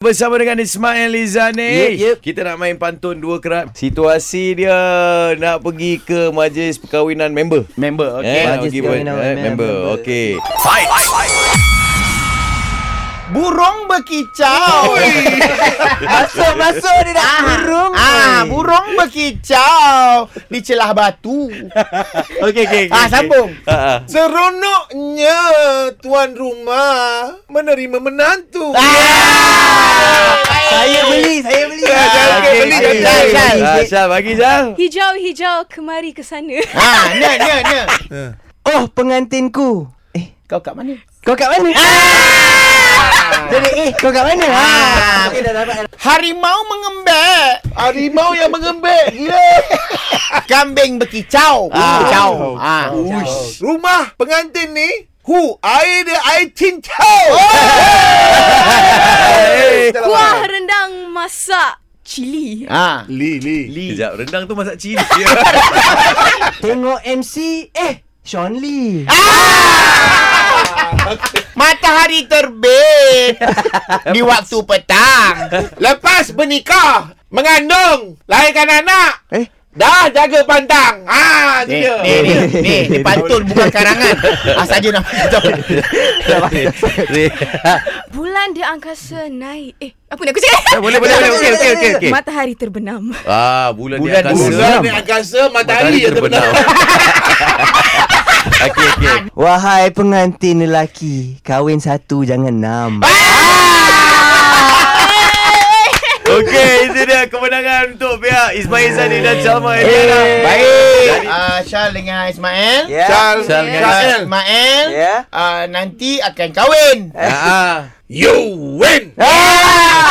Bersama dengan Ismail Lizani Yep, yep. Kita nak main pantun dua kerap Situasi dia nak pergi ke majlis perkahwinan member Eh, Member okay. nak pergi ber- eh, member, okey. Burung berkicau Masuk masuk dia nak burung Ah, burung berkicau di celah batu. Okey okey ah, sambung. Ha, ha. Seronoknya tuan rumah menerima menantu. Ah, Ya. saya beli, saya beli. Ya, Ah, jangan Okey, beli, okey. Ah. jangan. Zal, Zal. Zal, Zal, Ah, bagi Zal Hijau-hijau kemari ke sana. Ah, ni ni ni. Oh pengantinku Eh Kau kat mana? kau kat mana? Jadi eh kau kat mana? Ha. Ah. Harimau mengembek. Harimau yang mengembek. Gila. Kambing berkicau. Berkicau. Ah. Rumah pengantin ni Hu, air dia air Oh! cincau. Kuah rendang masak cili. Ah. Li, li. Sekejap, rendang tu masak cili Tengok MC Eh Sean Lee Ah! Matahari terbit di waktu petang. Lepas bernikah, mengandung, lahirkan anak. Eh? Dah jaga pantang. Ah, Ni, dia. ni, ni, ni, ni pantun bukan karangan. Asal je nama kita. Bulan di angkasa naik. Eh, apa nak aku cakap? Ya, Boleh boleh boleh Okey okey okey okey Matahari terbenam. Ah, bulan, Bulan di di angkasa Bulan ni angkasa, matahari, Matahari yang terbenam. terbenam Okey okey Wahai pengantin lelaki Kahwin satu jangan enam Ah. Okey, itu dia kemenangan untuk pihak Ismail Zani dan Salma Ediana Eh. Eh, Baik. Ah, Syal dengan Ismail. Ya. Charles, Charles dengan Ah, Charles. Ismail. Ya. Ah, nanti akan kahwin. Ah, You win. Ah!